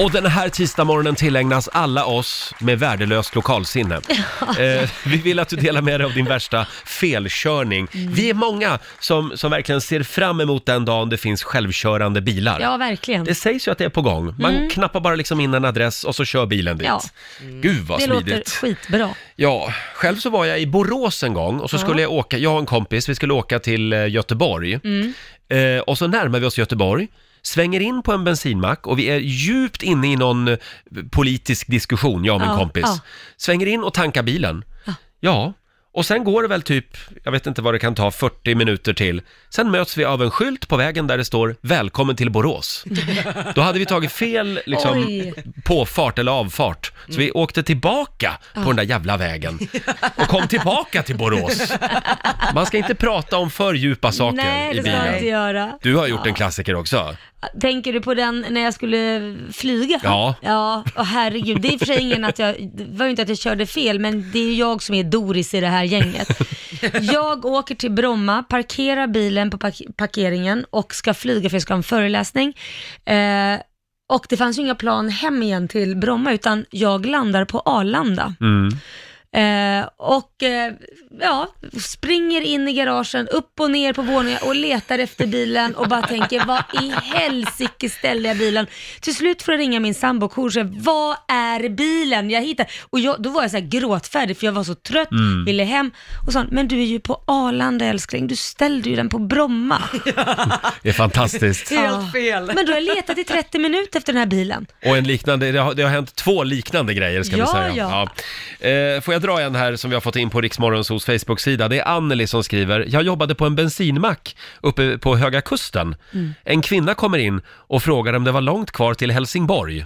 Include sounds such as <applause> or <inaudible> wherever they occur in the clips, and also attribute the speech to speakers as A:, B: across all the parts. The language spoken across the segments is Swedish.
A: Och den här tisdagsmorgonen tillägnas alla oss med värdelöst lokalsinne.
B: <laughs>
A: Eh, vi vill att du delar med dig av din värsta felkörning.
B: Mm.
A: Vi är många som, som verkligen ser fram emot den dagen det finns självkörande bilar.
B: Ja, verkligen.
A: Det
B: Det,
A: sägs ju att det är på gång. Man knappar bara liksom in en adress och så kör bilen dit.
B: Ja.
A: Gud vad smidigt.
B: låter skitbra.
A: Ja, själv så var jag i Borås en gång och så skulle jag åka, jag och en kompis, vi skulle åka till eh, Göteborg.
B: Mm.
A: Eh, och så närmar vi oss Göteborg, svänger in på en bensinmack och vi är djupt inne i någon eh, politisk diskussion, jag och min
B: Ja,
A: kompis.
B: ja.
A: Svänger in och tankar bilen. Ja, och sen går det väl typ, jag vet inte vad det kan ta, 40 minuter till. Sen möts vi av en skylt på vägen där det står “Välkommen till
B: <laughs>
A: Borås”. Då hade vi tagit fel liksom,
B: Oj. Mm.
A: påfart eller avfart. Så vi åkte tillbaka på den där
B: Ah.
A: jävla
B: <laughs>
A: vägen och kom tillbaka till Borås. Man ska inte prata om för djupa saker
B: Nej,
A: i
B: det ska jag inte
A: bilen.
B: göra.
A: Du har gjort en klassiker också.
B: Tänker du på den när jag skulle flyga?
A: Ja.
B: Ja, och herregud. Det är i och för sig ingen att jag, det var ju inte att jag körde fel, men det är ju jag som är Doris i det
A: <laughs>
B: här gänget. Jag åker till Bromma, parkerar bilen på park- parkeringen och ska flyga för jag ska ha en föreläsning. Eh, och det fanns ju inga plan hem igen till Bromma, utan jag landar på Arlanda.
A: Mm.
B: Eh, och eh, ja, springer in i garagen, upp och ner på våningen och letar efter bilen och bara tänker, vad i helsike ställde jag bilen? Till slut får jag ringa min sambo och hon säger, vad är bilen jag hittar? Och jag, då var jag så här gråtfärdig för jag var så trött,
A: Mm.
B: ville hem och sa, men du är ju på Arlanda älskling, du ställde ju den på Bromma.
A: Det är fantastiskt.
B: Ah.
C: <laughs> Helt fel.
B: Men då har jag letat i 30 minuter efter den här bilen.
A: Och en liknande, det har, det har hänt två liknande grejer ska
B: Ja,
A: vi säga.
B: ja.
A: Ja. Eh, får jag dra en här som vi har fått in på Riksmorgonsos Facebook-sida. Det är Anneli som skriver, jag jobbade på en bensinmack uppe på Höga Kusten.
B: Mm.
A: En kvinna kommer in och frågar om det var långt kvar till Helsingborg.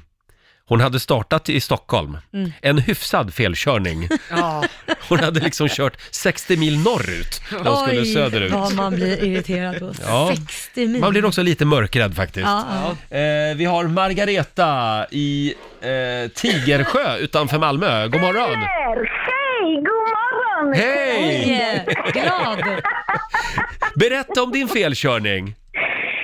A: Hon hade startat i Stockholm.
B: Mm.
A: En hyfsad
B: <laughs>
A: felkörning.
C: Ja.
A: Hon hade liksom kört 60 mil norrut när hon skulle söderut.
B: vad man blir irriterad på.
A: Ja.
B: 60 mil.
A: Man blir också lite mörkrädd faktiskt.
B: Ja, ja.
A: Eh, vi har Margareta i eh, Tigersjö utanför Malmö. God morgon!
D: Hej, god morgon!
A: Hej!
B: Yeah. Glad!
A: Berätta om din felkörning.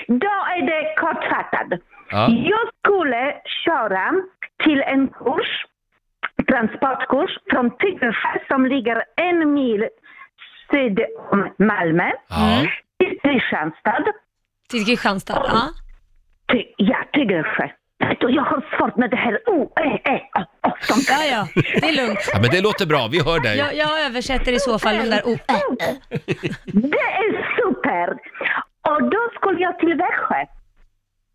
D: Då är det kortfattat.
A: Ja.
D: Jag skulle köra till en kurs, transportkurs från Tyresö som ligger en mil syd om Malmö
A: Ja.
D: till Kristianstad.
B: Till Kristianstad, ja.
D: Ty, ja, Tyresö. Vet du, Jag har svårt med det här o, e, e, o, o, som
B: Ja, ja, det är lugnt.
A: ja, men det låter bra. Vi hör dig.
B: Jag, jag översätter i så fall den där
D: eh,
B: oh, äh.
A: <laughs>
D: Det är super! Och då skulle jag till Växjö.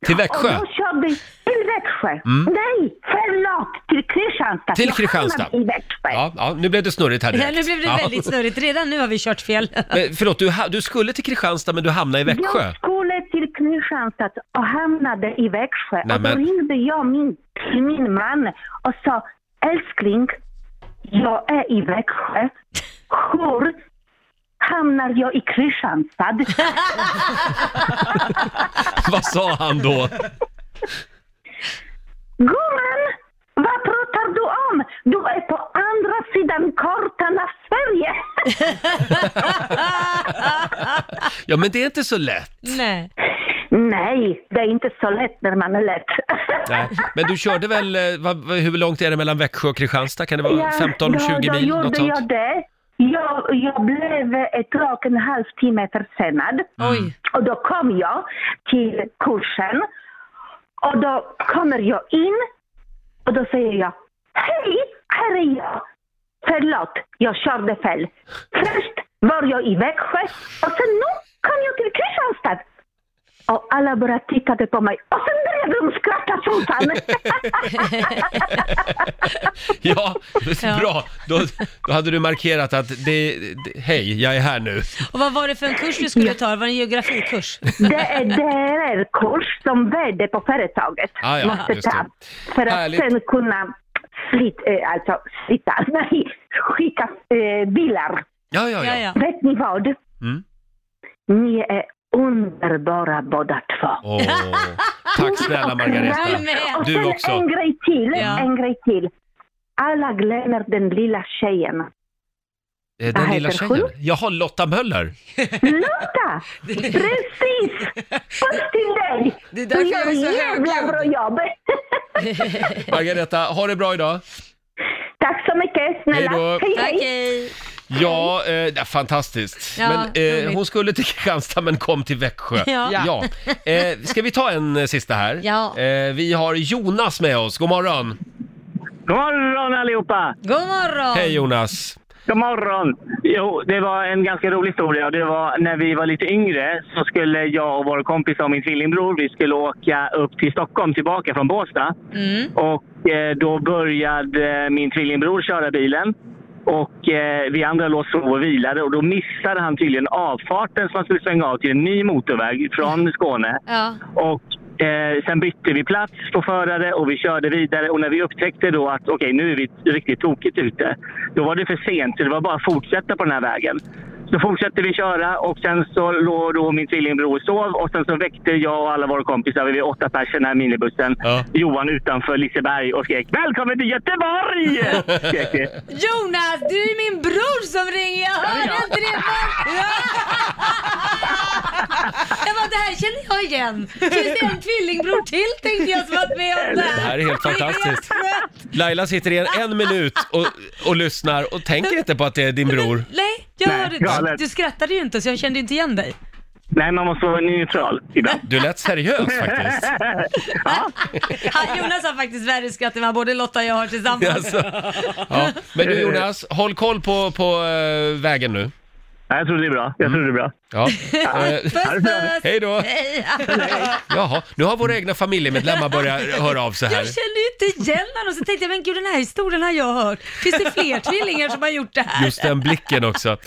A: Till
D: Och
A: Växjö. Mm.
D: då kör vi till Växjö. Nej, förlåt, till Kristianstad.
A: Till
D: Jag
A: Kristianstad.
D: hamnade I Växjö.
A: Ja, ja, nu blev det snurrigt här
B: Ja,
A: direkt.
B: nu blev det
A: ja.
B: väldigt snurrigt. Redan nu har vi kört fel. <laughs>
A: <laughs> Men förlåt, du, ha- du skulle till Kristianstad men du hamnade i Växjö.
D: Jag skulle till Kristianstad och hamnade i Växjö. Och
A: Nämen.
D: då ringde jag min, till min man och sa, älskling, jag är i Växjö. Hur hamnar jag i
A: <laughs>
D: Kristianstad?
A: Vad sa han då?
D: Gumman, vad pratar du om? Du är på andra sidan kartan av Sverige. <laughs>
A: Ja, men det är inte så lätt.
B: Nej.
D: Nej, det är inte så lätt när man är lätt. <laughs>
A: Nej. Men du körde väl, eh, vad, vad- hur långt är det mellan Växjö och Kristianstad? Kan det vara
D: då,
A: 15-20
D: då
A: mil?
D: gjorde
A: Något sånt?
D: jag det. Jag, jag blev ett och en halv timme försenad.
A: Mm.
B: Oj.
D: Och då kom jag till kursen. Och då kommer jag in och då säger jag Hej, här är jag. Förlåt, jag körde fel. Först var jag i Växjö och sen nu kom jag till Kristianstad. Och alla bara tittade på mig och sen började de skratta som fan.
A: Ja,
B: Ja.
A: bra. Då, då hade du markerat att det, det, hej, jag är här nu.
B: Och vad var det för en kurs du skulle ta? Det var en geografikurs.
D: Det är DRR-kurs som värde på företaget
A: Ah, ja,
D: måste
A: just det.
D: ta. För att
A: Härligt.
D: sen kunna flit, eh, alltså, flytta, <laughs> nej, skicka eh, bilar.
A: Ja, ja,
B: Ja,
A: ja.
B: ja.
D: Vet ni vad?
A: Mm.
D: Ni är underbara båda två.
A: Åh, tack snälla Margareta.
B: Du med.
D: Och
A: Du
D: sen
A: också.
D: en grej till,
B: Ja.
D: en grej till. Alla glömmer den lilla tjejen
A: Eh, Den
D: Jag
A: lilla
D: heter
A: tjejen.
D: Sjuk.
A: Jaha, Lotta Möller.
D: Lotta! Precis! Puss till dig!
C: Det är därför
D: Du
C: jag är
D: gör
C: så
D: jävla bra
C: högljudd.
D: jobb!
A: Margareta, ha det bra idag.
D: <laughs> Tack så mycket, snälla!
A: Hej då.
B: Tack, hej.
A: Ja, eh, ja, fantastiskt.
B: Ja,
A: men, eh,
B: roligt.
A: hon skulle till Kristianstad men kom till Växjö.
B: Ja.
A: Ja. Eh, ska vi ta en eh, sista här?
B: Ja.
A: Eh, vi har Jonas med oss. God morgon.
E: God morgon allihopa!
B: God morgon.
A: Hej Jonas.
E: God morgon! Jo, det var en ganska rolig historia. Det var när vi var lite yngre så skulle jag och vår kompis och min tvillingbror, vi skulle åka upp till Stockholm tillbaka från Båstad.
B: Mm.
E: Och eh, då började eh, min tvillingbror köra bilen. Och eh, vi andra låg och sov och vilade och då missade han tydligen avfarten som han skulle svänga av till en ny motorväg från Skåne.
B: Ja.
E: Och eh, sen bytte vi plats på förare och vi körde vidare. Och när vi upptäckte då att okej, nu är vi riktigt tokigt ute. Då var det för sent, så det var bara att fortsätta på den här vägen. Så fortsatte vi köra och sen så låg då min tvillingbror och sov och sen så väckte jag och alla våra kompisar, vi var åtta pers i den här minibussen,
A: Ja.
E: Johan utanför Liseberg och skrek “Välkommen till Göteborg!” skrek vi.
B: Jonas, du är min bror som ringer. Jag hörde inte det
A: <laughs>
B: förr. Jag bara, det här känner jag igen. Finns det en tvillingbror till tänkte jag som varit med om det
A: Det här
B: här.
A: är helt fantastiskt. Laila sitter i en, en minut och, och lyssnar och tänker inte på att det är din bror.
B: Nej, jag
E: Nej,
B: hörde inte.
E: galet.
B: Du skrattade ju inte så jag kände inte igen dig.
E: Nej, man måste vara neutral ibland.
A: Du lät seriös faktiskt.
B: <laughs> Han, Jonas har faktiskt värre skratt än vad både Lotta och jag har tillsammans.
A: Alltså. Ja. Men du Jonas, håll koll på, på eh, vägen nu.
E: Nej, jag tror det är bra. Jag tror det är bra.
A: Ja. Eh,
B: <laughs> Puss puss!
A: Hej då!
B: Hej.
A: Jaha, nu har våra egna familjemedlemmar börjat höra av sig här.
B: Jag kände ju inte igen honom, så tänkte jag men gud den här historien har jag hört. Finns det fler tvillingar som har gjort det här?
A: Just den blicken också.